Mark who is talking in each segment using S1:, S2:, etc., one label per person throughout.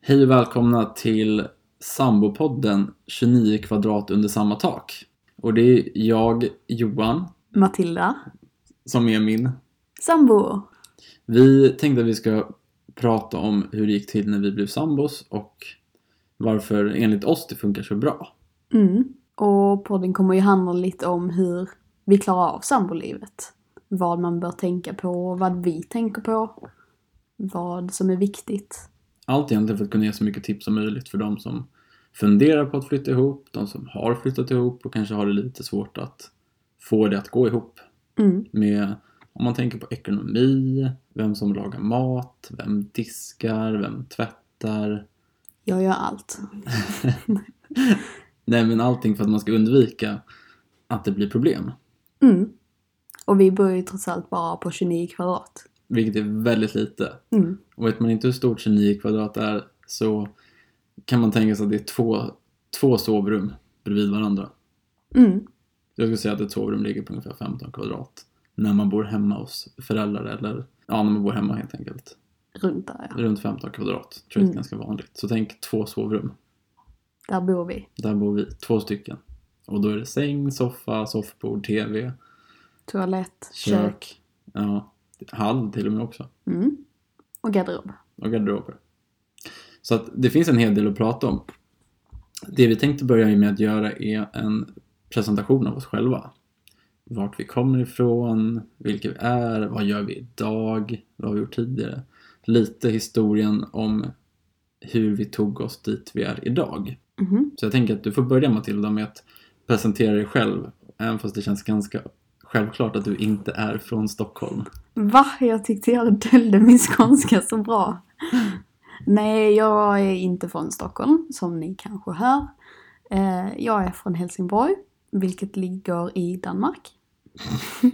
S1: Hej och välkomna till Sambopodden 29 kvadrat under samma tak. Och det är jag, Johan,
S2: Matilda.
S1: som är min.
S2: Sambo.
S1: Vi tänkte att vi ska prata om hur det gick till när vi blev sambos och varför enligt oss det funkar så bra.
S2: Mm. Och podden kommer ju handla lite om hur vi klarar av sambolivet. Vad man bör tänka på, vad vi tänker på, vad som är viktigt.
S1: Allt egentligen för att kunna ge så mycket tips som möjligt för de som funderar på att flytta ihop, de som har flyttat ihop och kanske har det lite svårt att få det att gå ihop.
S2: Mm.
S1: med om man tänker på ekonomi, vem som lagar mat, vem diskar, vem tvättar.
S2: Jag gör allt.
S1: Nej men allting för att man ska undvika att det blir problem.
S2: Mm. Och vi bor ju trots allt bara på 29 kvadrat.
S1: Vilket är väldigt lite.
S2: Mm.
S1: Och vet man inte hur stort 29 kvadrat är så kan man tänka sig att det är två, två sovrum bredvid varandra.
S2: Mm.
S1: Jag skulle säga att ett sovrum ligger på ungefär 15 kvadrat. När man bor hemma hos föräldrar eller ja, när man bor hemma helt enkelt.
S2: Runt där ja.
S1: Runt 15 kvadrat tror jag
S2: Mm.
S1: är ganska vanligt. Så tänk två sovrum.
S2: Där bor vi.
S1: Där bor vi, två stycken. Och då är det säng, soffa, soffbord, tv,
S2: Toalett,
S1: kök,
S2: kök.
S1: Ja, hall till och med också.
S2: Mm. Och garderob.
S1: Och garderober. Så att det finns en hel del att prata om. Det vi tänkte börja med att göra är en presentation av oss själva. Vart vi kommer ifrån, vilka vi är, vad gör vi idag, vad har vi gjort tidigare. Lite historien om hur vi tog oss dit vi är idag.
S2: Mhm.
S1: Så jag tänker att du får börja Matilda med att presentera dig själv. Även fast det känns ganska självklart att du inte är från Stockholm.
S2: Va? Jag tyckte jag döljde min skånska så bra. Nej, jag är inte från Stockholm, som ni kanske hör. Eh, Jag är från Helsingborg, vilket ligger i Danmark.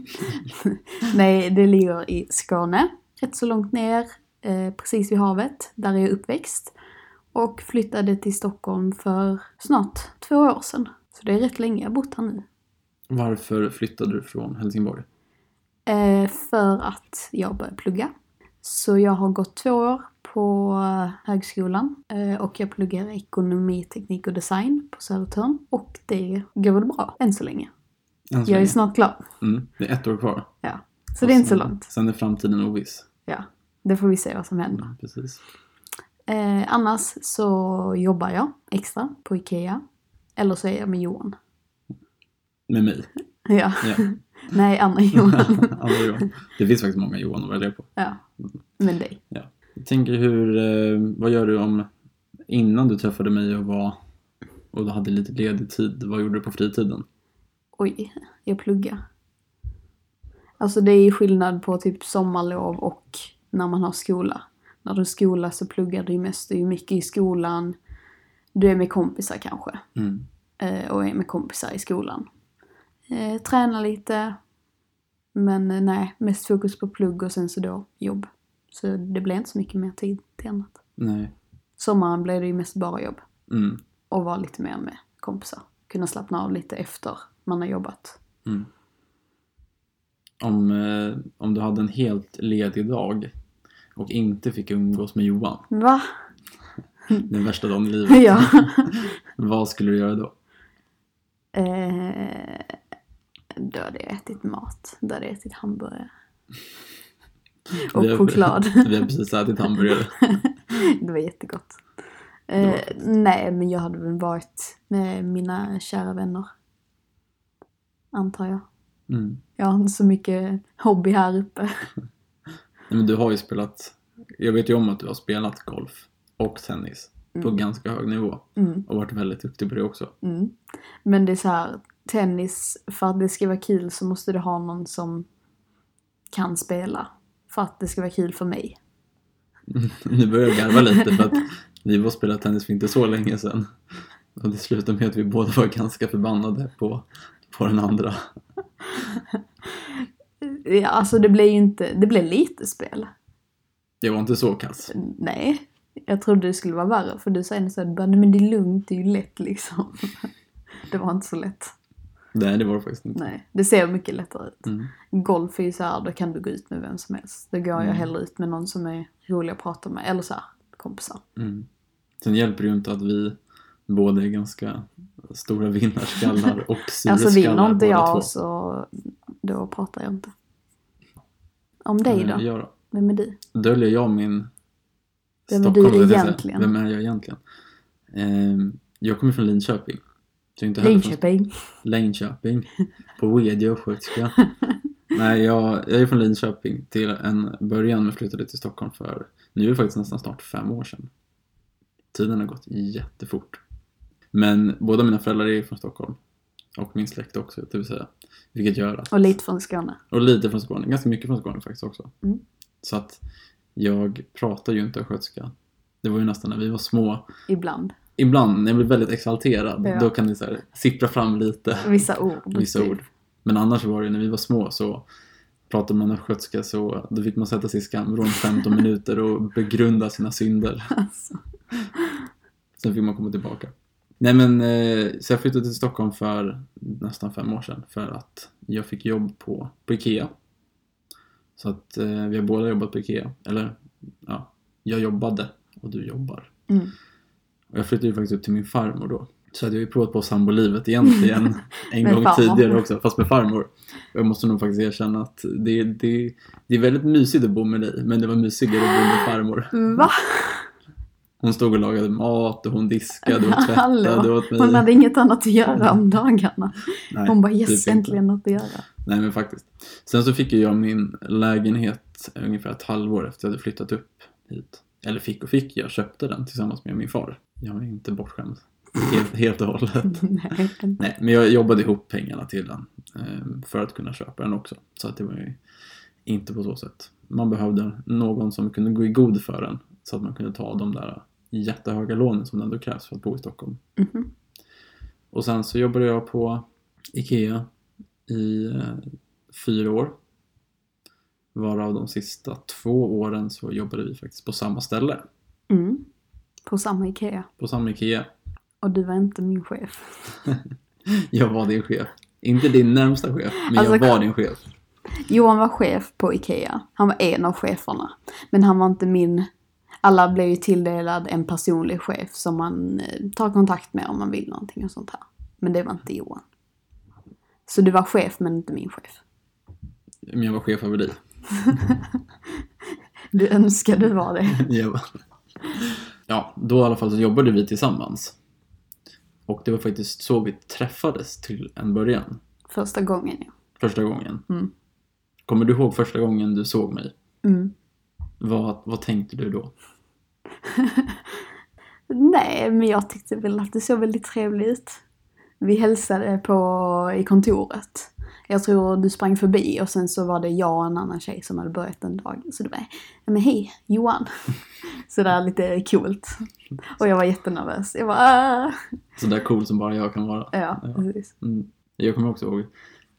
S2: Nej, det ligger i Skåne, rätt så långt ner, eh, precis vid havet, där är jag uppväxt. Och flyttade till Stockholm för snart två år sedan. Så det är rätt länge jag har bott här nu.
S1: Varför flyttade du från Helsingborg?
S2: Eh, för att jag började plugga. Så jag har gått två år på eh, högskolan eh, och jag pluggar ekonomi, teknik och design på Södertörn. Och det går väl bra än så länge.
S1: Än så
S2: Jag är
S1: länge.
S2: snart klar.
S1: mm, det är ett år kvar.
S2: Ja. Så det är inte så
S1: sen,
S2: långt.
S1: Sen är framtiden oviss.
S2: Ja. Det får vi se vad som händer.
S1: Mm, precis.
S2: Eh, annars så jobbar jag extra på IKEA. Eller så är jag med Johan.
S1: Med mig.
S2: Ja.
S1: Ja.
S2: Nej, andra Johan.
S1: Andra Johan. det finns faktiskt många Johan att välja på.
S2: ja. Men dig.
S1: Jag tänker hur, eh, vad gör du om innan du träffade mig och var och du hade lite ledig tid, vad gjorde du på fritiden?
S2: Oj, jag pluggar. Alltså det är ju skillnad på typ sommarlov och när man har skola. När du har skola så pluggar du ju mest, du är ju mycket i skolan. Du är med kompisar kanske.
S1: Mm.
S2: eh, Och är med kompisar i skolan. Eh, Tränar lite. Men eh, nej, mest fokus på plugg och sen så då jobb. Så det blir inte så mycket mer tid till annat.
S1: Nej.
S2: Sommaren blir det ju mest bara jobb.
S1: Mm.
S2: Och vara lite mer med kompisar. Kunna slappna av lite efter man har jobbat.
S1: Mm. Om, eh, om du hade en helt ledig dag och inte fick umgås med Johan
S2: Va?
S1: den värsta dagen i livet,
S2: Ja.
S1: vad skulle du göra då?
S2: Eh, då hade jag ätit mat. Då hade jag ätit hamburgare. Och
S1: Vi har-
S2: choklad.
S1: Vi har precis ätit hamburgare.
S2: Det var jättegott.
S1: var
S2: Eh,
S1: gott.
S2: nej, men jag hade väl varit med mina kära vänner. Antar jag.
S1: Mm.
S2: Jag har inte så mycket hobby här uppe.
S1: Nej, Men du har ju spelat, jag vet ju om att du har spelat golf och tennis på
S2: Mm.
S1: ganska hög nivå
S2: Mm,
S1: och varit väldigt duktig på det också.
S2: mm. Men det är så här, tennis, för att det ska vara kul så måste du ha någon som kan spela. För att det ska vara kul för mig.
S1: Nu börjar jag garva lite för att vi var spelat tennis för inte så länge sedan. Och det slutade med att vi båda var ganska förbannade på, på den andra.
S2: Ja, alltså det blev ju inte, det blev lite spel.
S1: Jag var inte så kass.
S2: Nej, jag trodde det skulle vara värre för du sa ändå såhär, men det är lugnt, det är ju lätt liksom. det var inte så lätt.
S1: Nej, det var det faktiskt inte.
S2: Nej, det ser mycket lättare ut.
S1: Mm.
S2: Golf är ju så här, då kan du gå ut med vem som helst. Då går jag
S1: Mm.
S2: hellre ut med någon som är rolig att prata med, eller så här, kompisar.
S1: Mm. Sen hjälper det ju inte att vi båda är ganska stora vinnarskallar och
S2: alltså
S1: surskallar
S2: vinner inte
S1: båda
S2: jag
S1: två.
S2: så då pratar jag inte. Om dig
S1: Vem är
S2: då?
S1: jag då?
S2: Vem är du?
S1: Döljer jag min
S2: Vem är du
S1: Stockholm, tänkte jag säga.
S2: egentligen?
S1: Vem är jag egentligen? Ehm, jag kommer från Linköping. Så jag är inte heller från
S2: Linköping.
S1: Linköping. På Wedje och sköterska. Nej, jag, jag är från Linköping till en början men flyttade till Stockholm för nu är det faktiskt nästan snart fem år sedan. Tiden har gått jättefort. Men båda mina föräldrar är från Stockholm. Och min släkt också, det vill säga. Vilket gör att...
S2: Och lite från Skåne.
S1: Och lite från Skåne. Ganska mycket från Skåne faktiskt också.
S2: Mm.
S1: Så att jag pratar ju inte östgötska. Det var ju nästan när vi var små.
S2: Ibland.
S1: Ibland när jag blir väldigt exalterad,
S2: Ja. Mm,
S1: då kan det så här sippra fram lite
S2: Vissa ord.
S1: vissa
S2: typ.
S1: ord. Men annars var det när vi var små så pratade man östgötska så då fick man sätta sig i skamvrån 15 minuter och begrunda sina synder.
S2: Alltså.
S1: Sen fick man komma tillbaka. Nej men, eh, så jag flyttade till Stockholm för nästan fem år sedan för att jag fick jobb på, på IKEA. Så att eh, vi har båda jobbat på IKEA. Eller, ja, jag jobbade och du jobbar.
S2: Mm.
S1: Och jag flyttade ju faktiskt upp till min farmor då. Så hade jag ju provat på sambolivet egentligen en
S2: Med
S1: gång
S2: farmor.
S1: tidigare också, fast med farmor. Och jag måste nog faktiskt erkänna att det, det, det är väldigt mysigt att bo med dig, men det var mysigare att bo med farmor.
S2: Va?
S1: Hon stod och lagade mat och hon diskade och
S2: Hallå.
S1: tvättade åt mig.
S2: Hon hade inget annat att göra om dagarna.
S1: Nej,
S2: Hon bara
S1: typ
S2: yes,
S1: inte.
S2: äntligen något att göra.
S1: Nej men faktiskt. Sen så fick ju jag min lägenhet ungefär ett halvår efter jag hade flyttat upp hit. Eller fick och fick, jag köpte den tillsammans med min far. Jag är inte bortskämd helt, helt och hållet.
S2: Nej, inte.
S1: Nej, men jag jobbade ihop pengarna till den eh, för att kunna köpa den också. Så att det var ju inte på så sätt. Man behövde någon som kunde gå i god för den så att man kunde ta de där jättehöga lånen som det ändå krävs för att bo i Stockholm.
S2: Mhm.
S1: Och sen så jobbade jag på IKEA i eh, fyra år. Varav de sista två åren så jobbade vi faktiskt på samma ställe.
S2: Mm. På samma IKEA.
S1: På samma IKEA.
S2: Och du var inte min chef.
S1: Jag var din chef. Inte din närmsta chef, men jag
S2: Alltså,
S1: var din chef.
S2: Johan var chef på IKEA. Han var en av cheferna. Men han var inte min... Alla blev ju tilldelad en personlig chef som man eh, tar kontakt med om man vill någonting och sånt här. Men det var inte Johan. Så du var chef men inte min chef.
S1: Men jag var chef över dig.
S2: Du önskar du var det.
S1: Jag bara- ja, då i alla fall så jobbade vi tillsammans. Och det var faktiskt så vi träffades till en början.
S2: Första gången ja.
S1: Första gången.
S2: Mm.
S1: Kommer du ihåg första gången du såg mig?
S2: Mm.
S1: Vad, vad tänkte du då?
S2: Nej, men jag tyckte väl att det såg väldigt trevligt ut. Vi hälsade på i kontoret. Jag tror du sprang förbi och sen så var det jag och en annan tjej som hade börjat den dagen. Så du bara, "Ja, men hej Johan. Så där lite coolt. Och jag var jättenervös. Jag bara, "Ah."
S1: Sådär cool som bara jag kan vara.
S2: ja, precis.
S1: Mm. Jag kommer också ihåg.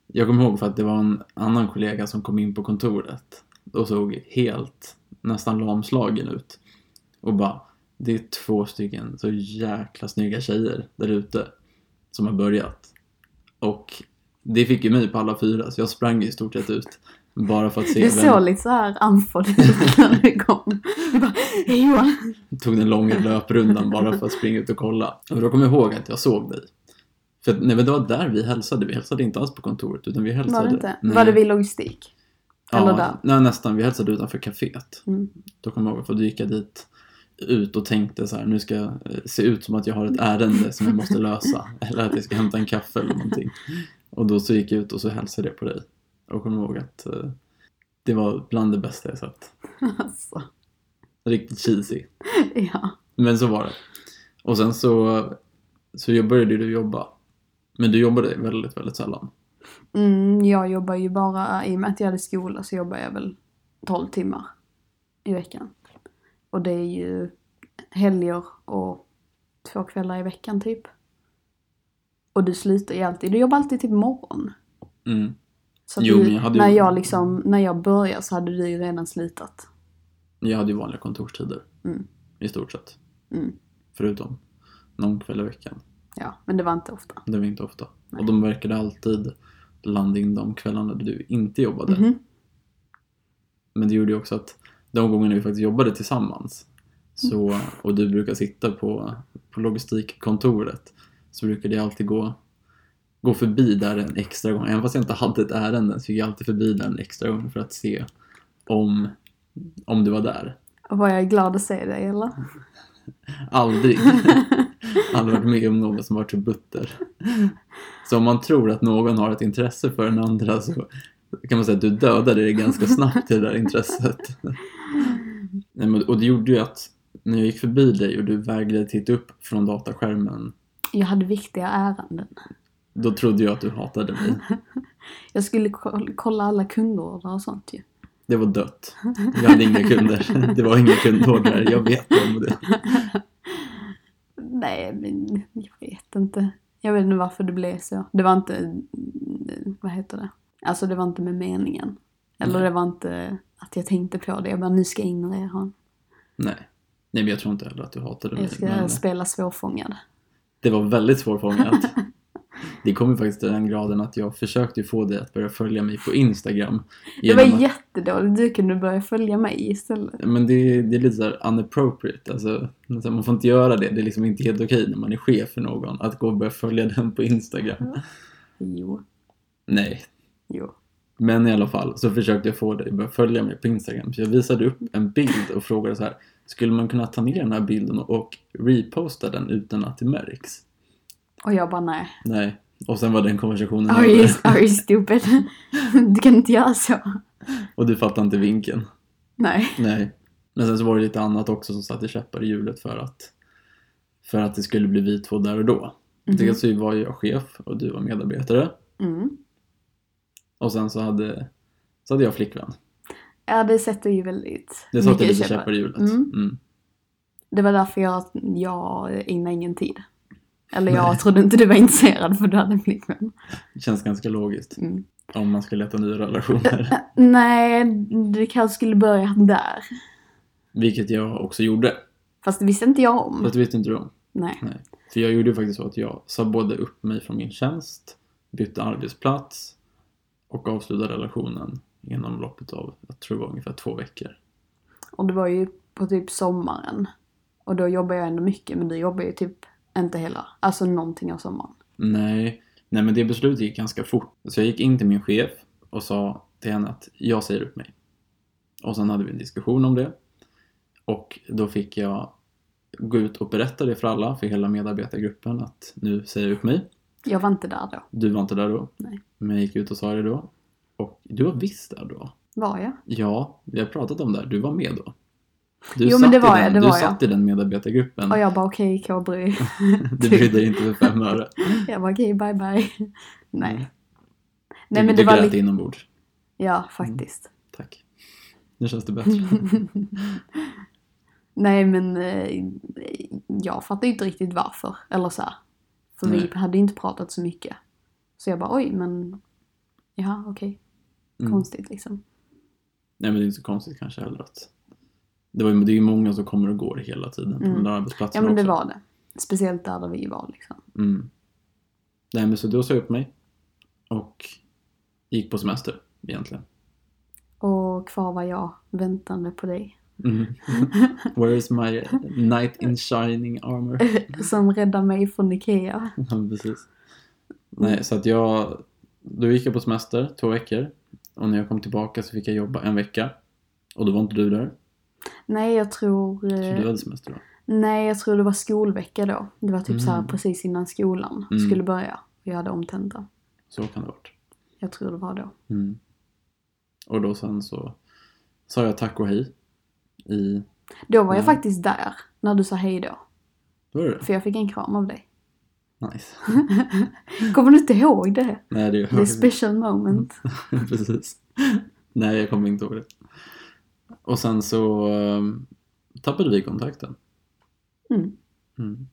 S1: Jag kommer ihåg för att det var en annan kollega som kom in på kontoret och såg helt, nästan lamslagen ut. Och bara, det är två stycken så jäkla snygga tjejer där ute som har börjat. Och det fick ju mig på alla fyra så jag sprang ju i stort sett ut. Bara för att se
S2: Du såg
S1: vem
S2: lite så här andfådd ut när du kom. Du bara, hej Johan.
S1: tog den långa löprundan bara för att springa ut och kolla. Och då kommer jag ihåg att jag såg dig. För att, nej, men det var där vi hälsade. Vi hälsade inte alls på kontoret utan vi hälsade.
S2: Var det inte?
S1: Nej.
S2: Var det vid logistik? Eller där?
S1: nej, nästan. Vi hälsade utanför kaféet.
S2: Mm.
S1: Då kommer jag ihåg, för då gick jag dit ut och tänkte så här, nu ska jag eh, se ut som att jag har ett ärende som jag måste lösa. Eller att jag ska hämta en kaffe eller någonting. Och då så gick jag ut och så hälsade jag på dig. Och kommer ihåg att eh, det var bland det bästa jag sett.
S2: Alltså,
S1: Riktigt cheesy.
S2: ja.
S1: Men så var det. Och sen så, så jag började du jobba. Men du jobbade väldigt, väldigt sällan.
S2: Mm, jag jobbar ju bara, i och med att jag hade skola så jobbar jag väl 12 timmar i veckan. Och det är ju helger och två kvällar i veckan typ. Och du slutar ju alltid, du jobbar alltid till morgon.
S1: Mm.
S2: Så att
S1: Jo,
S2: du,
S1: men jag hade ju-
S2: när jag liksom, när jag började så hade du ju redan slutat.
S1: Jag hade ju vanliga kontorstider.
S2: Mm.
S1: I stort sett.
S2: Mm.
S1: Förutom någon kväll i veckan.
S2: Ja, men det var inte ofta.
S1: Det var inte ofta. Och de verkade alltid landa in de kvällarna där du inte jobbade.
S2: Mhm.
S1: Men det gjorde ju också att de gångerna vi faktiskt jobbade tillsammans så,
S2: Mm.
S1: och du brukar sitta på, på logistikkontoret så brukade jag alltid gå, gå förbi där en extra gång. Även fast jag inte hade ett ärende så gick jag alltid förbi där en extra gång för att se om, om du var där.
S2: Var jag glad att se dig eller?
S1: Aldrig. Aldrig varit med om någon som varit så butter. Så om man tror att någon har ett intresse för den andra så kan man säga att du dödade det ganska snabbt, det där intresset. Nej, men, och det gjorde ju att när jag gick förbi dig och du vägrade titta upp från dataskärmen,
S2: Jag hade viktiga ärenden.
S1: då trodde jag att du hatade mig.
S2: Jag skulle ko- kolla alla kundorder och sånt ju.
S1: Det var dött. Jag hade inga kunder. Det var inga kundorder, jag vet om det.
S2: Nej, men jag vet inte. Jag vet inte varför det blev så. Det var inte, mm, vad heter det? Alltså det var inte med meningen. Eller
S1: Nej.
S2: det var inte att jag tänkte på det. Jag bara, nu ska jag ignorera honom.
S1: Nej. Nej, men jag tror inte heller att du hatade mig.
S2: Jag ska
S1: men-
S2: spela svårfångad.
S1: Det var väldigt svårfångat. Det kom ju faktiskt till den graden att jag försökte ju få dig att börja följa mig på Instagram.
S2: Det var
S1: genom att-
S2: jättedåligt. Du kunde börja följa mig istället.
S1: Men det, det är lite såhär unappropriate. Alltså, alltså, man får inte göra det. Det är liksom inte helt okej när man är chef för någon att gå och börja följa den på Instagram.
S2: Jo,
S1: Nej.
S2: jo.
S1: Men i alla fall så försökte jag få dig att börja följa mig på Instagram. Så jag visade upp en bild och frågade så här. Skulle man kunna ta ner den här bilden och reposta den utan att det märks?
S2: Och jag bara, nej.
S1: Nej. Och sen var den konversationen
S2: Are you,
S1: över.
S2: are you stupid? Du kan inte göra så.
S1: Och du fattade inte vinken.
S2: Nej.
S1: Nej. Men sen så var det lite annat också som satte käppar i hjulet för att, för att det skulle bli vi två där och då.
S2: Mhm.
S1: Dels så var jag chef och du var medarbetare.
S2: Mm.
S1: Och sen så hade, så hade jag flickvän.
S2: Ja, det sätter ju väldigt
S1: Det satte
S2: mycket
S1: lite
S2: käppar.
S1: käppar i hjulet.
S2: Mm.
S1: Mm.
S2: Det var därför jag, jag ägnade ingen tid. Eller jag trodde inte du var intresserad för du hade en flickvän.
S1: Det känns ganska logiskt
S2: Mm.
S1: om man ska leta nya relationer.
S2: Nej, du kanske skulle börja där.
S1: Vilket jag också gjorde.
S2: Mm. Fast det visste inte jag
S1: För
S2: om.
S1: att det vet inte du om.
S2: Nej.
S1: För jag gjorde ju faktiskt så att jag sa både upp mig från min tjänst, bytte arbetsplats och avslutade relationen inom loppet av, jag tror det var ungefär två veckor.
S2: Och det var ju på typ sommaren. Och då jobbar jag ändå mycket, men du jobbar ju typ inte hela, alltså någonting av sommaren.
S1: Nej, nej men det beslutet gick ganska fort. Så jag gick in till min chef och sa till henne att jag säger upp mig. Och sen hade vi en diskussion om det. Och då fick jag gå ut och berätta det för alla, för hela medarbetargruppen, att nu säger jag upp mig.
S2: Jag var inte där då.
S1: Du var inte där då.
S2: Nej.
S1: Men jag gick ut och sa det då. Och du var visst där då.
S2: Var jag?
S1: Ja, vi har pratat om det här. Du var med då. Du
S2: Jo, men
S1: satt
S2: det
S1: i
S2: var
S1: den,
S2: jag, det
S1: du
S2: var jag.
S1: satt i den medarbetargruppen.
S2: Och jag bara okej, okay, jag bry.
S1: Du brydde dig inte för fem öre.
S2: Jag bara okej, bye bye.
S1: Mm.
S2: Nej.
S1: Du-
S2: Nej men
S1: du
S2: det var
S1: grät Mm.
S2: lite,
S1: inombords.
S2: ja faktiskt.
S1: Tack. Nu känns det bättre.
S2: Nej men eh, jag fattar ju inte riktigt varför. Eller så här. För
S1: Nej.
S2: vi hade ju inte pratat så mycket. Så jag bara oj men, ja okej,
S1: Mm.
S2: konstigt liksom.
S1: Nej men det är inte så konstigt kanske heller att det, var, ju- det är ju många som kommer och går hela tiden på
S2: Mm.
S1: de där
S2: Ja
S1: arbetsplatserna
S2: men det
S1: också.
S2: var det. Speciellt där, där vi var liksom.
S1: Mm. Nej men så då sa jag upp mig och gick på semester egentligen.
S2: Och kvar var jag väntande på dig.
S1: Mm. Where is my knight in shining armor?
S2: Som räddade mig från Ikea.
S1: Ja, precis. Nej, så att jag... Då gick jag på semester två veckor och när jag kom tillbaka så fick jag jobba en vecka och då var inte du där.
S2: Nej jag tror...
S1: Så
S2: eh,
S1: du hade semester då?
S2: Nej, jag tror det var skolvecka då. Det var typ
S1: Mm.
S2: så här precis innan skolan
S1: Mm.
S2: skulle börja. Jag hade omtenta.
S1: Så kan det ha varit.
S2: Jag tror det var då.
S1: Mm. Och då sen så sa jag tack och hej. I...
S2: Då var jag
S1: Mm.
S2: faktiskt där när du sa hej då.
S1: Var det det?
S2: För jag fick en kram av dig.
S1: Nice.
S2: Kommer du inte ihåg det?
S1: Nej, det gör
S2: Det är special moment.
S1: Mm. Precis. Nej, jag kommer inte ihåg det. Och sen så ehm, tappade vi kontakten.
S2: Mm.
S1: Mm.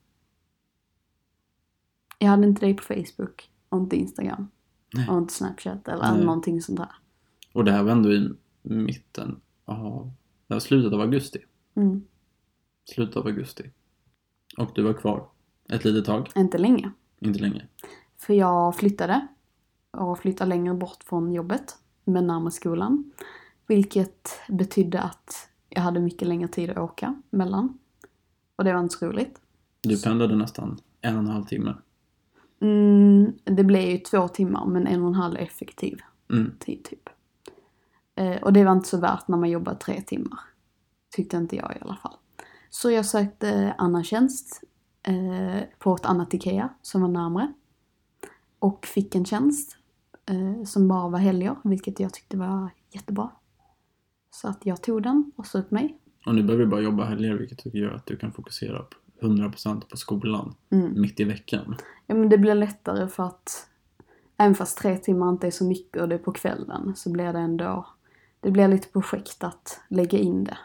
S2: Jag hade inte dig på Facebook och inte Instagram.
S1: Nej.
S2: Och inte Snapchat eller
S1: Nej.
S2: någonting sånt där.
S1: Och det här var ändå i mitten av... Det var slutet av augusti.
S2: Mm.
S1: Slutet av augusti. Och du var kvar. Ett litet tag,
S2: Inte länge.
S1: inte länge.
S2: För jag flyttade. Och flyttade längre bort från jobbet. Men närmare skolan. Vilket betydde att jag hade mycket längre tid att åka mellan. Och det var inte så roligt.
S1: Du pendlade nästan en och en halv timme.
S2: Mm, det blev ju två timmar men en och en halv effektiv
S1: Mm.
S2: tid typ. Eh, och det var inte så värt när man jobbar tre timmar. Tyckte inte jag i alla fall. Så jag sökte annan tjänst eh, på ett annat IKEA som var närmare. Och fick en tjänst eh, som bara var helger, vilket jag tyckte var jättebra. Så att jag tog den och sa upp mig.
S1: Och nu behöver du bara jobba helger vilket gör att du kan fokusera på 100% på skolan
S2: Mm.
S1: mitt i veckan.
S2: Ja men det blir lättare för att även fast tre timmar inte är så mycket och det är på kvällen så blir det ändå, det blir lite projekt att lägga in det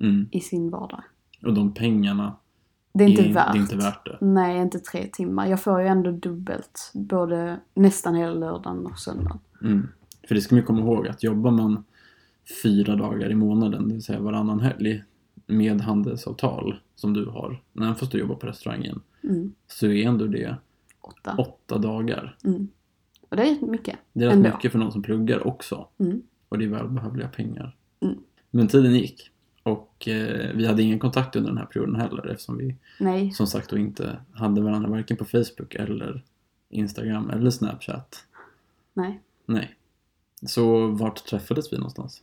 S1: Mm.
S2: i sin vardag.
S1: Och de pengarna,
S2: Det är inte
S1: är,
S2: värt.
S1: det är inte värt det.
S2: Nej, inte tre timmar. Jag får ju ändå dubbelt. Både nästan hela lördagen och söndagen.
S1: Mm. För det ska man ju komma ihåg att jobbar man fyra dagar i månaden, det vill säga varannan helg med handelsavtal som du har, när fast du jobbar på restaurangen,
S2: Mm,
S1: så är ändå det
S2: åtta.
S1: åtta dagar.
S2: Mm. Och det är mycket.
S1: Det är rätt
S2: Ändå.
S1: mycket för någon som pluggar också
S2: Mm.
S1: och det är välbehövliga pengar.
S2: Mm.
S1: Men tiden gick och eh, vi hade ingen kontakt under den här perioden heller eftersom vi
S2: Nej,
S1: som sagt då inte hade varandra varken på Facebook eller Instagram eller Snapchat.
S2: nej.
S1: Nej. Så vart träffades vi någonstans?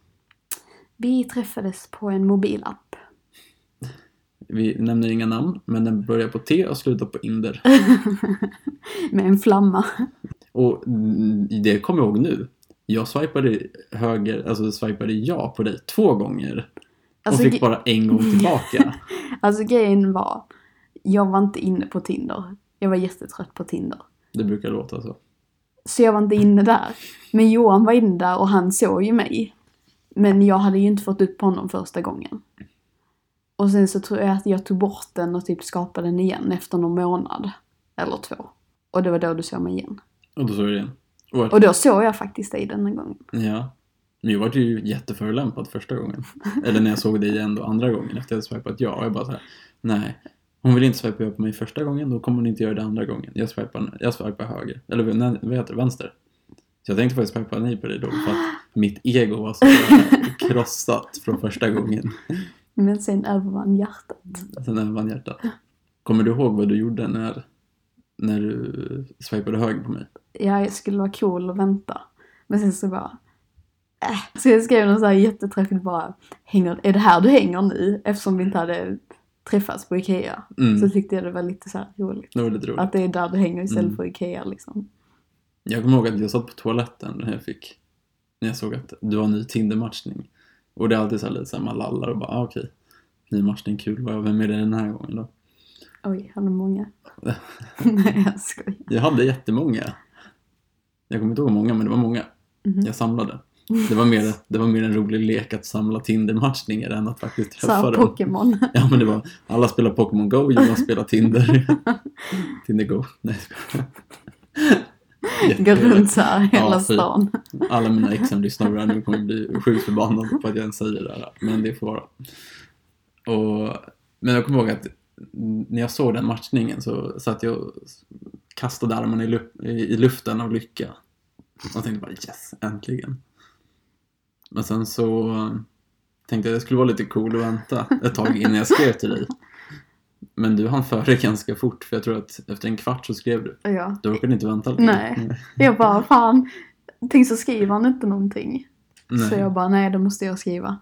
S2: Vi träffades på en mobilapp.
S1: Vi nämner inga namn, men den börjar på T och slutar på Inder.
S2: Med en flamma.
S1: Och mm, det kommer jag ihåg nu. Jag swipade höger, alltså swipade ja på dig två gånger
S2: Alltså,
S1: och
S2: ge-
S1: fick bara en gång tillbaka.
S2: alltså grejen var, jag var inte inne på Tinder. Jag var jättetrött på Tinder.
S1: Det brukar låta så.
S2: Så jag var inte inne där. Men Johan var inne där och han såg ju mig. Men jag hade ju inte fått upp honom första gången. Och sen så tror jag att jag tog bort den och typ skapade den igen efter någon månad. Eller två. Och det var då du såg mig igen.
S1: Och då såg jag det igen. Och vart-
S2: Och då såg jag faktiskt dig denna gången.
S1: Ja. Men jag var ju jätteförolämpad första gången. Eller när jag såg dig igen då andra gången efter att jag hade swipat ja. Och jag bara så här, nej. Hon vill inte swipa ja på mig första gången, då kommer hon inte göra det andra gången. Jag swipar, jag swipar höger. Eller nej, vad heter det? Vänster. Så jag tänkte faktiskt swipa nej på dig då för att mitt ego var så krossat från första gången.
S2: Men sen övervann hjärtat.
S1: Sen när vann hjärtat. Kommer du ihåg vad du gjorde när, när du swipade höger på mig?
S2: Ja, jag skulle vara cool och vänta. Men sen så bara... Äh. Så jag skrev något så här jätteträffigt bara. Hänger, är det här du hänger nu? Eftersom vi inte hade träffats på Ikea.
S1: Mm,
S2: Så tyckte jag det var lite så här roligt.
S1: det var lite roligt.
S2: Att det är där det hänger istället
S1: Mm.
S2: för Ikea liksom.
S1: Jag kommer ihåg att jag satt på toaletten när jag fick när jag såg att det var en ny Tinder-matchning. Och det är alltid så här lite så här, man lallar och bara ah, okej, ny matchning, kul, vad- vem är det den här gången då?
S2: Oj, hade många. Nej, jag skojar.
S1: Jag hade jättemånga. Jag kommer inte ihåg hur många, men det var många.
S2: Mhm.
S1: Jag samlade. Det var, mer, det var mer en rolig lek att samla Tinder-matchningar än att faktiskt
S2: Så här
S1: träffa dem.
S2: Pokémon.
S1: Ja, men det var alla spelar Pokémon Go, Jonas spelar Tinder. Tinder Go. Nej, jag
S2: Går
S1: skojar.
S2: runt så här hela
S1: Ja, fy.
S2: stan.
S1: Alla mina ex som lyssnar på det här nu kommer bli sjukt förbannade på att jag ens säger det här. Men det får vara. Och, men jag kommer ihåg att när jag såg den matchningen så satt jag och kastade armarna i, lu- i luften av lycka. Och tänkte bara yes, äntligen. Men sen så tänkte jag att det skulle vara lite cool att vänta ett tag innan jag skrev till dig. Men du hann före ganska fort för jag tror att efter en kvart så skrev du.
S2: Och jag,
S1: Du orkade inte vänta lite.
S2: nej. Jag bara, fan. Tänk så skriver han inte någonting.
S1: Nej.
S2: Så jag bara, nej det måste jag skriva.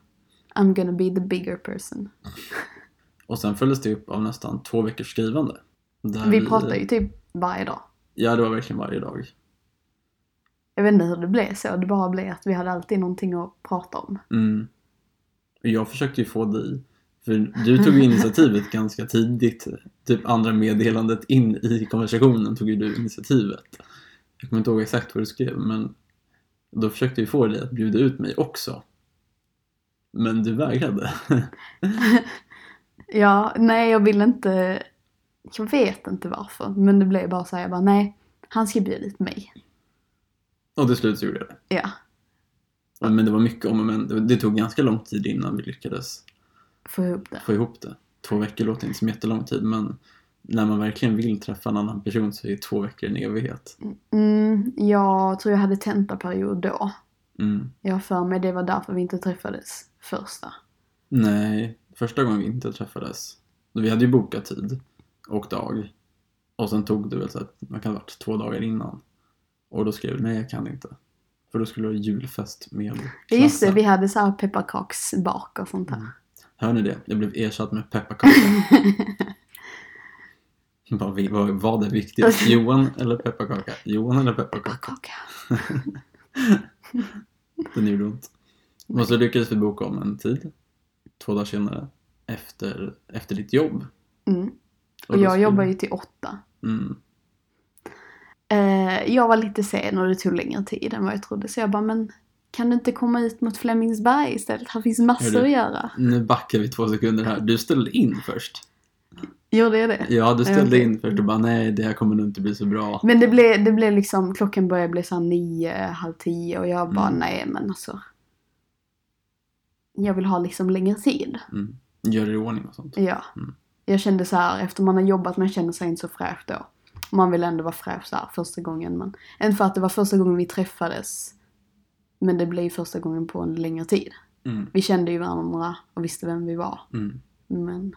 S2: I'm gonna be the bigger person.
S1: Och sen följdes det upp av nästan två veckors skrivande. Där
S2: Vi pratar ju typ varje dag.
S1: Ja, det var verkligen varje dag.
S2: Jag vet inte hur det blev så. Det bara blev att vi hade alltid någonting att prata om.
S1: Mm. Och Jag försökte ju få dig, för du tog ju initiativet ganska tidigt. Typ andra meddelandet in i konversationen tog ju du initiativet. Jag kommer inte ihåg exakt vad du skrev, men då försökte vi få dig att bjuda ut mig också. Men du vägrade.
S2: Ja, nej jag vill inte. Jag vet inte varför. Men det blev bara så här, jag bara nej. Han ska bjuda dit mig.
S1: Och till slut så gjorde jag det.
S2: Ja.
S1: Men det var mycket om och men. Det- Det tog ganska lång tid innan vi lyckades
S2: Få ihop det.
S1: få ihop det. Två veckor låter inte som jättelång tid men när man verkligen vill träffa en annan person så är ju två veckor en evighet.
S2: Mm, jag tror jag hade tentaperiod då.
S1: Mm.
S2: Jag har för mig det var därför vi inte träffades första.
S1: Nej, första gången vi inte träffades, vi hade ju bokat tid och dag. Och sen tog det väl så att man kan ha varit två dagar innan. Och då skrev du nej jag kan inte. För då skulle du ha julfest med
S2: Ja, Just det,
S1: klassen.
S2: vi hade så här pepparkaksbak och sånt där.
S1: Mm. Hör ni det? Jag blev ersatt med pepparkaka. Vad vi- vad- Vad är viktigast? Johan eller pepparkaka? Johan eller pepparkaka?
S2: Pepparkaka.
S1: Den gjorde ont. Men så lyckades vi boka om en tid. Två dagar senare. Efter, efter ditt jobb.
S2: Mm. Och
S1: då
S2: jag
S1: skulle-
S2: jobbar ju till åtta.
S1: Mm.
S2: Eh, jag var lite sen och det tog längre tid än vad jag trodde. Så jag bara, men kan du inte komma ut mot Flemingsberg istället? Här finns massor
S1: Hörru.
S2: att göra.
S1: Nu backar vi två sekunder här. Du ställde in först.
S2: Gjorde jag det?
S1: Ja, du
S2: Ja,
S1: ställde
S2: okej.
S1: in först och bara nej, det här kommer nog inte bli så bra.
S2: Men det blev, det blev liksom, klockan började bli såhär nio, halv tio och jag bara,
S1: Mm.
S2: nej men alltså. Jag vill ha liksom längre tid.
S1: Mm. Gör det i ordning och sånt.
S2: Ja.
S1: Mm.
S2: Jag kände så här, efter man har jobbat, man känner sig inte så fräsch då. Man vill ändå vara fräsch så här första gången. Men, inte för att det var första gången vi träffades. Men det blev ju första gången på en längre tid.
S1: Mm.
S2: Vi kände ju varandra och visste vem vi var.
S1: Mm.
S2: Men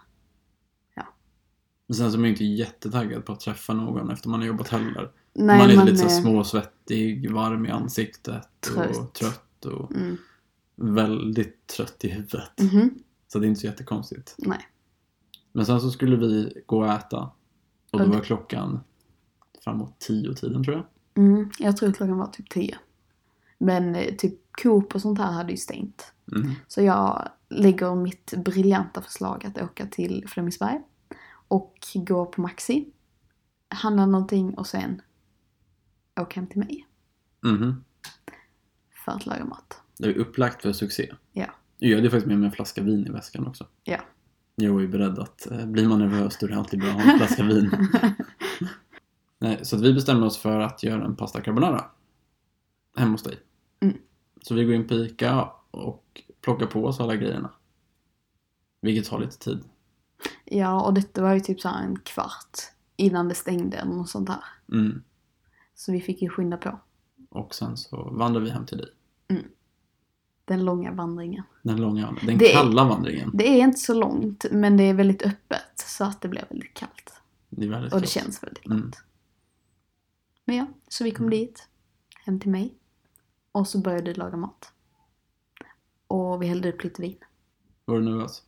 S1: Men sen så är man ju inte jättetaggad på att träffa någon efter man har jobbat heller.
S2: nej,
S1: man är
S2: man
S1: lite så
S2: är-
S1: här småsvettig, varm i ansiktet och
S2: Trött.
S1: trött och
S2: Mm.
S1: väldigt trött i huvudet.
S2: Mhm.
S1: Så det är inte så jättekonstigt.
S2: Nej.
S1: Men sen så skulle vi gå och äta. Och då
S2: Och det-
S1: var klockan framåt tio tiden tror jag.
S2: Mm. Jag tror klockan var typ tio. Men eh, typ Coop och sånt här hade ju stängt.
S1: Mm.
S2: Så jag lägger mitt briljanta förslag att åka till Flemingsberg och gå på Maxi, handla någonting och sen åka hem till mig
S1: Mhm.
S2: för att laga mat.
S1: Det är upplagt för succé.
S2: Ja.
S1: Jag hade ju faktiskt med mig en flaska vin i väskan också.
S2: Ja.
S1: Jag var ju beredd att eh, blir man nervös då är det alltid bra att ha en flaska vin. Nej, så att vi bestämde oss för att göra en pasta carbonara. Hemma hos dig.
S2: Mm.
S1: Så vi går in på ICA och plockar på oss alla grejerna. Vilket tar lite tid.
S2: Ja, och detta var ju typ så här en kvart innan det stängde eller något sånt där.
S1: Mm.
S2: Så vi fick ju skynda på
S1: Och sen så vandrar vi hem till dig.
S2: den långa vandringen.
S1: Den långa, den
S2: Det-
S1: kalla vandringen.
S2: Det är inte så långt, men det är väldigt öppet så att det blev väldigt kallt.
S1: Det är väldigt
S2: Och det
S1: kallt.
S2: känns väldigt
S1: Mm.
S2: långt. Men ja, så vi kom dit. Hem till mig. Och så började vi laga mat. Och vi hällde upp lite vin.
S1: Var du nervös?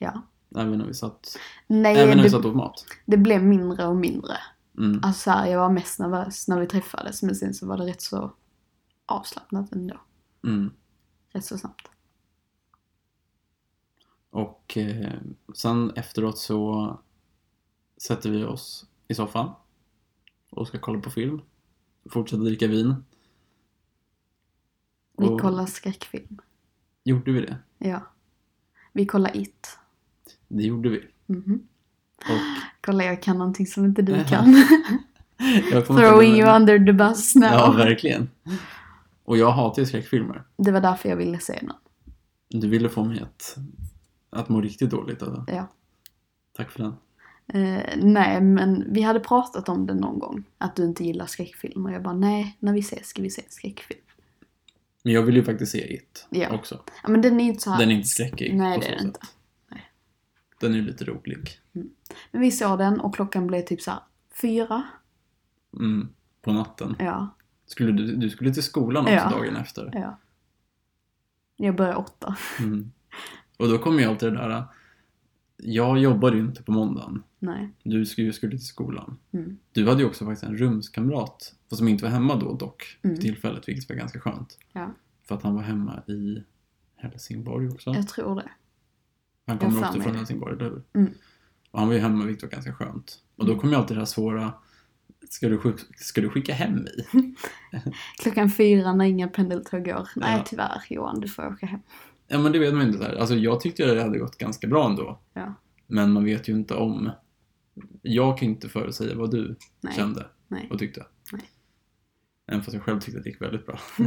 S2: Ja.
S1: Även när vi satt,
S2: Nej,
S1: även när vi
S2: det,
S1: satt åt mat?
S2: det blev mindre och mindre.
S1: Mm.
S2: Alltså så här, jag var mest nervös när vi träffades men sen så var det rätt så avslappnat ändå.
S1: Mm.
S2: Rätt så snabbt.
S1: Och eh, sen efteråt så sätter vi oss i soffan och ska kolla på film. Fortsätter dricka vin.
S2: Vi
S1: Och-
S2: kollade skräckfilm.
S1: Gjorde vi det?
S2: Ja. Vi kollade It.
S1: Det gjorde vi.
S2: Mhm.
S1: Och
S2: Kolla, jag kan någonting som inte du
S1: Ja.
S2: kan.
S1: jag kommer inte
S2: Throwing
S1: ihåg-
S2: you under the bus now.
S1: Ja, verkligen. Och jag hatar ju skräckfilmer.
S2: det var därför jag ville se den.
S1: Du ville få mig att, att må riktigt dåligt alltså.
S2: Ja.
S1: Tack för den.
S2: Eh, nej, men vi hade pratat om det någon gång. Att du inte gillar skräckfilm. Och jag bara, nej, när vi ses ska vi se en skräckfilm.
S1: Men jag vill ju faktiskt se It
S2: Ja.
S1: också.
S2: Ja, men den är ju inte så här.
S1: Den är inte skräckig
S2: Nej,
S1: på
S2: det är
S1: så
S2: den inte.
S1: sätt.
S2: Nej.
S1: Den är ju lite rolig.
S2: Men vi såg den och klockan blev typ så här fyra.
S1: Mm, på natten.
S2: Ja,
S1: Skulle du, du skulle till skolan också
S2: Ja.
S1: dagen efter.
S2: ja. Jag började åtta.
S1: Mm. Och då kommer ju alltid det där, äh, jag jobbade ju inte på måndagen.
S2: Nej.
S1: Du skulle, skulle till skolan.
S2: Mm.
S1: Du hade ju också faktiskt en rumskamrat, fast som inte var hemma då dock,
S2: Mm.
S1: för tillfället, vilket var ganska skönt.
S2: Ja.
S1: För att han var hemma i Helsingborg också.
S2: Jag tror det.
S1: Han
S2: Jag
S1: kommer
S2: har för
S1: också
S2: mig
S1: från
S2: det.
S1: Helsingborg, eller hur?
S2: Mm.
S1: Och han var ju hemma, vilket var ganska skönt. Och då
S2: Mm.
S1: kom ju alltid det här svåra, ska du, skick- ska du skicka hem mig?
S2: Klockan fyra när inga pendeltåg går. Nej,
S1: Ja.
S2: tyvärr Johan, du får åka hem.
S1: Ja men det vet man ju inte. Så här. Alltså, jag tyckte att det hade gått ganska bra ändå.
S2: Ja.
S1: Men man vet ju inte om... Jag kan ju inte förutsäga vad du
S2: Nej.
S1: kände
S2: Nej.
S1: och tyckte.
S2: Nej.
S1: Även fast jag själv tyckte att det gick väldigt bra.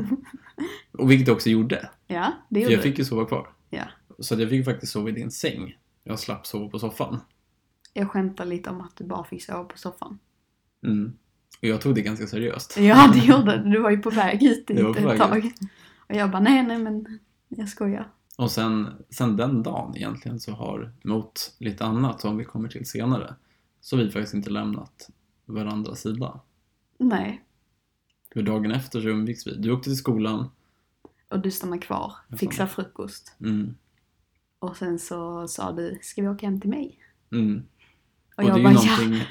S1: och vilket jag också gjorde.
S2: Ja, det
S1: För
S2: gjorde
S1: jag
S2: du.
S1: fick ju sova kvar.
S2: Ja.
S1: Så att jag fick faktiskt sova i din säng. Jag slapp sova på soffan.
S2: Jag skämtar lite om att du bara fick sova på soffan.
S1: Mm. Och jag tog det ganska seriöst.
S2: Ja, det gjorde du. Du var ju på väg hit
S1: Jag var
S2: dit
S1: på
S2: ett
S1: väg
S2: tag. Och jag bara, nej, nej, men jag skojar.
S1: Och sen, sen den dagen egentligen så har, mot lite annat som vi kommer till senare, så har vi faktiskt inte lämnat varandras sida.
S2: Nej.
S1: För dagen efter så umgicks vi. Du åkte till skolan.
S2: Och du stannar kvar,
S1: Jag
S2: fixar frukost.
S1: Mm.
S2: Och sen så sa du, ska vi åka hem till mig?
S1: Mm. Och,
S2: Och,
S1: det är
S2: jag
S1: ju
S2: bara, ja.
S1: någonting...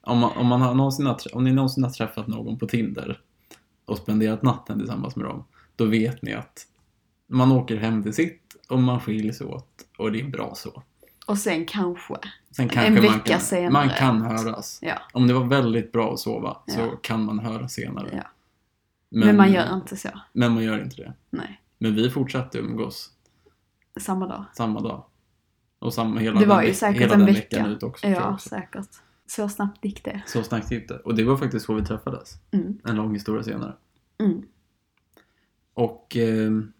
S1: Om, man, om, man har någonsin, har trä- om ni någonsin har träffat någon på Tinder och spenderat natten tillsammans med dem, då vet ni att man åker hem till sitt och man skiljs åt och det är bra så.
S2: Och sen kanske.
S1: Sen kanske man
S2: vecka
S1: kan,
S2: senare.
S1: Man kan höras.
S2: Ja.
S1: Om det var väldigt bra att sova så
S2: Ja.
S1: kan man höra senare.
S2: Ja. Men, man gör inte så.
S1: men man gör inte det.
S2: Nej.
S1: Men vi fortsatte umgås
S2: Samma dag.
S1: samma dag. Och samma, hela
S2: Det var
S1: den,
S2: ju
S1: veck-
S2: säkert
S1: hela
S2: en
S1: den
S2: vecka.
S1: veckan ut också. tror jag
S2: Ja,
S1: också.
S2: säkert. Så snabbt gick det.
S1: Så snabbt gick det. Och det var faktiskt så vi träffades.
S2: Mm.
S1: En lång historia senare.
S2: Mm.
S1: Och ehm,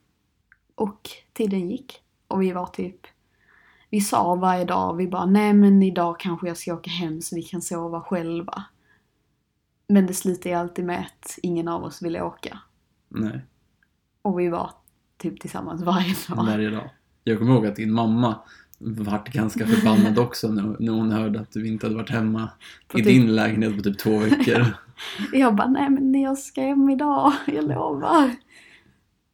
S2: Och tiden gick. Och vi var typ... Vi sa varje dag, vi bara nej men idag kanske jag ska åka hem så vi kan sova själva. Men det slutade ju alltid med att ingen av oss ville åka.
S1: nej,
S2: Och vi var typ tillsammans varje dag.
S1: varje dag. Jag kommer ihåg att din mamma vart ganska förbannad också när, när hon hörde att du inte hade varit hemma
S2: På
S1: i
S2: typ-
S1: din lägenhet på typ två veckor.
S2: Jag bara nej men jag ska hem idag, jag lovar.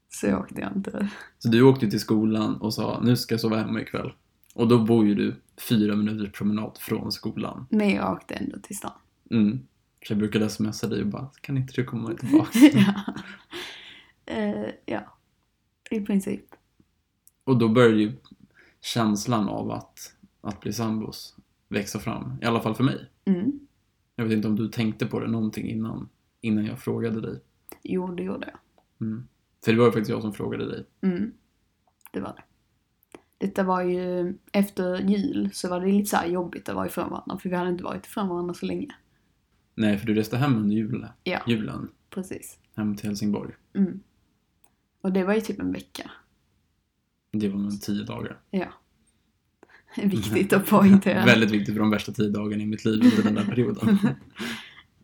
S2: Så åkte jag inte.
S1: Så du åkte ju till skolan och sa nu ska jag sova hemma ikväll. Och då bor ju du fyra minuters promenad från skolan.
S2: Men jag åkte ändå till stan.
S1: Mm. Så jag brukade smsa dig och bara kan inte du komma tillbaka?
S2: ja. Eh, ja, i princip.
S1: Och då började ju känslan av att, att bli sambos växa fram. I alla fall för mig.
S2: Mm.
S1: Jag vet inte om du tänkte på det någonting innan, innan jag frågade dig.
S2: Jo, det gjorde jag.
S1: Mm. För det var ju faktiskt jag som frågade dig.
S2: Mm. Det var det. Detta var ju efter jul så var det lite så här jobbigt att vara ifrån varandra för vi hade inte varit ifrån varandra så länge.
S1: Nej, för du reste hem under jul,
S2: Ja,
S1: julen.
S2: precis.
S1: Hem till Helsingborg.
S2: Mm. Och det var ju typ en vecka.
S1: Det var nog tio dagar.
S2: Viktigt att poängtera.
S1: Väldigt viktigt för de värsta tio dagarna i mitt liv under den där perioden.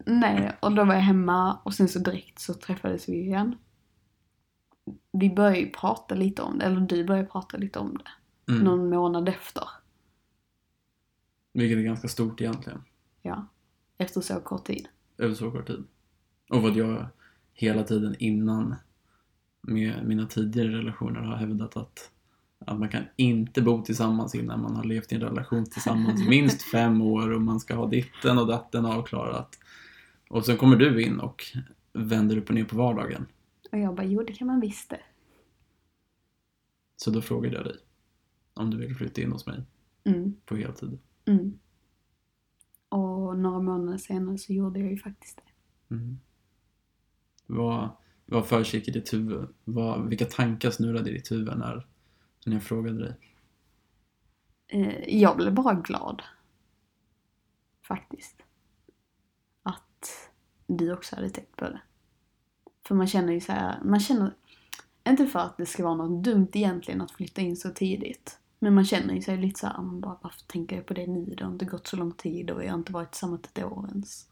S2: Nej, och då var jag hemma och sen så direkt så träffades vi igen. Vi började ju prata lite om det, eller du började prata lite om det.
S1: Mm.
S2: Någon månad efter.
S1: Vilket är ganska stort egentligen,
S2: Ja. Efter så kort tid.
S1: över så kort tid. Och vad jag hela tiden innan med mina tidigare relationer har hävdat att, att man kan inte bo tillsammans innan man har levt i en relation tillsammans i minst fem år och man ska ha ditten och datten avklarat. Och sen kommer du in och vänder upp och ner på vardagen.
S2: Och jag bara, jo det kan man visst det.
S1: Så då frågade jag dig om du vill flytta in hos mig
S2: Mm,
S1: på heltid.
S2: mm. Och några månader senare så gjorde jag ju faktiskt det.
S1: Mm. Vad, vad försiggick i ditt huvud? Vad, vilka tankar snurrade i ditt huvud när, när jag frågade dig?
S2: Eh, jag blev bara glad. Faktiskt. Att du också hade tänkt på det. För man känner ju så här, man känner, inte för att det ska vara något dumt egentligen att flytta in så tidigt. Men man känner ju sig lite så här, man bara, varför tänker jag på det nu? Det har inte gått så lång tid och vi har inte varit tillsammans ett år ens.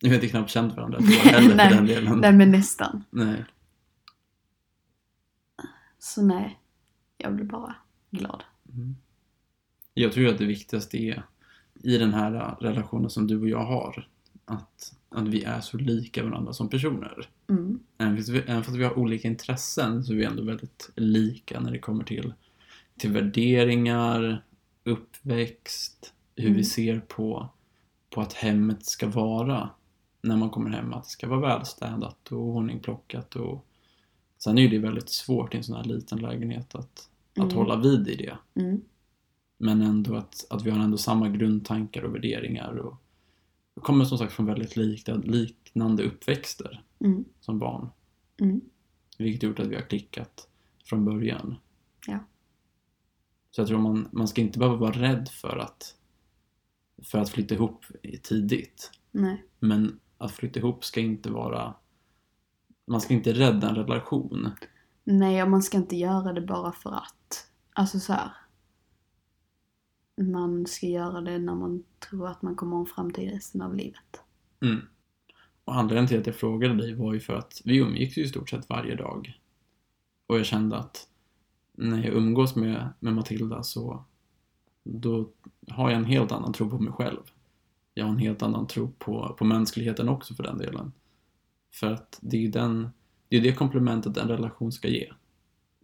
S1: Vi har inte knappt känt varandra ett år heller
S2: Nej,
S1: för den delen. Nej.
S2: Nej men nästan. Så nej, jag blev bara glad.
S1: Mm. Jag tror att det viktigaste är i den här relationen som du och jag har att, att vi är så lika varandra som personer.
S2: Mm.
S1: Även fast, vi, även fast vi har olika intressen så är vi ändå väldigt lika när det kommer till, till värderingar, uppväxt, hur
S2: Mm.
S1: vi ser på, på att hemmet ska vara när man kommer hem. Att det ska vara välstädat och ordningplockat. Och... Sen är ju det väldigt svårt i en sån här liten lägenhet att,
S2: Mm.
S1: att hålla vid i det.
S2: Mm.
S1: Men ändå att, att vi har ändå samma grundtankar och värderingar. Och, och kommer som sagt från väldigt likna, liknande uppväxter
S2: Mm.
S1: som barn.
S2: Mm.
S1: Vilket gjort att vi har klickat från början.
S2: Ja.
S1: Så jag tror man, man ska inte behöva vara rädd för att, för att flytta ihop i- tidigt.
S2: Nej.
S1: Men att flytta ihop ska inte vara... Man ska inte rädda en relation.
S2: Nej, och man ska inte göra det bara för att. Alltså så här. man ska göra det när man tror att man kommer ha en framtid resten av livet.
S1: Mm. Och anledningen till att jag frågade dig var ju för att vi umgicks ju i stort sett varje dag. Och jag kände att när jag umgås med, med Matilda så då har jag en helt annan tro på mig själv. Jag har en helt annan tro på, på mänskligheten också för den delen. För att det är ju den, det, är det komplementet en relation ska ge.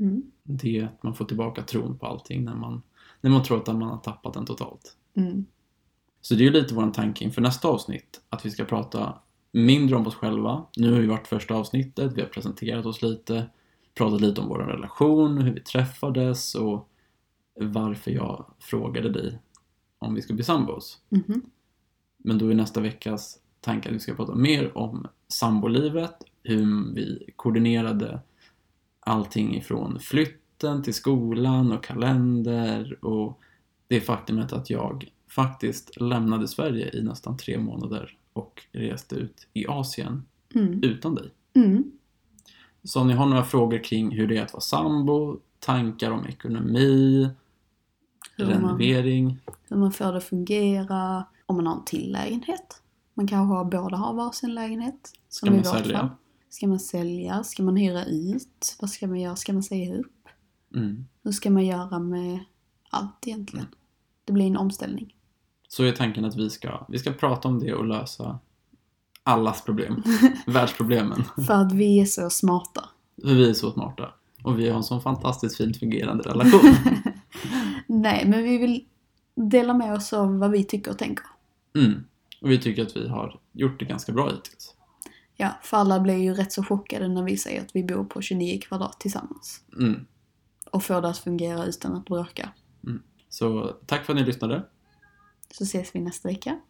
S2: Mm.
S1: Det är att man får tillbaka tron på allting när man, när man tror att man har tappat den totalt.
S2: Mm.
S1: Så det är ju lite vår tanke inför nästa avsnitt, att vi ska prata mindre om oss själva. Nu har vi varit första avsnittet, vi har presenterat oss lite, pratat lite om vår relation, hur vi träffades och varför jag frågade dig om vi ska bli sambos.
S2: Mhm.
S1: Men då är nästa veckas tanke att vi ska prata mer om sambolivet, hur vi koordinerade allting ifrån flytten till skolan och kalender och det faktumet att jag faktiskt lämnade Sverige i nästan tre månader och reste ut i Asien
S2: Mm.
S1: utan dig.
S2: Mm.
S1: Så om ni har några frågor kring hur det är att vara sambo, tankar om ekonomi,
S2: Hur man-
S1: renovering.
S2: Hur man får det att fungera, om man har en till lägenhet. Man kanske har, båda har varsin lägenhet.
S1: Ska
S2: som i
S1: man
S2: vårt fall.
S1: sälja?
S2: Ska man sälja? Ska man hyra ut? Vad ska man göra? Ska man säga upp?
S1: Mm.
S2: Hur ska man göra med allt egentligen? Det blir en omställning.
S1: Så är tanken att vi ska, vi ska prata om det och lösa allas problem. Världsproblemen.
S2: För att vi är så smarta.
S1: För vi är så smarta. Och vi har en sån fantastiskt fint fungerande relation.
S2: Nej, men vi vill dela med oss av vad vi tycker och tänker.
S1: Mm. Och vi tycker att vi har gjort det ganska bra hittills.
S2: Ja, för alla blir ju rätt så chockade när vi säger att vi bor på 29 kvadrat tillsammans.
S1: Mm.
S2: Och får det att fungera utan att bråka.
S1: Så tack för att ni lyssnade.
S2: Så ses vi nästa vecka.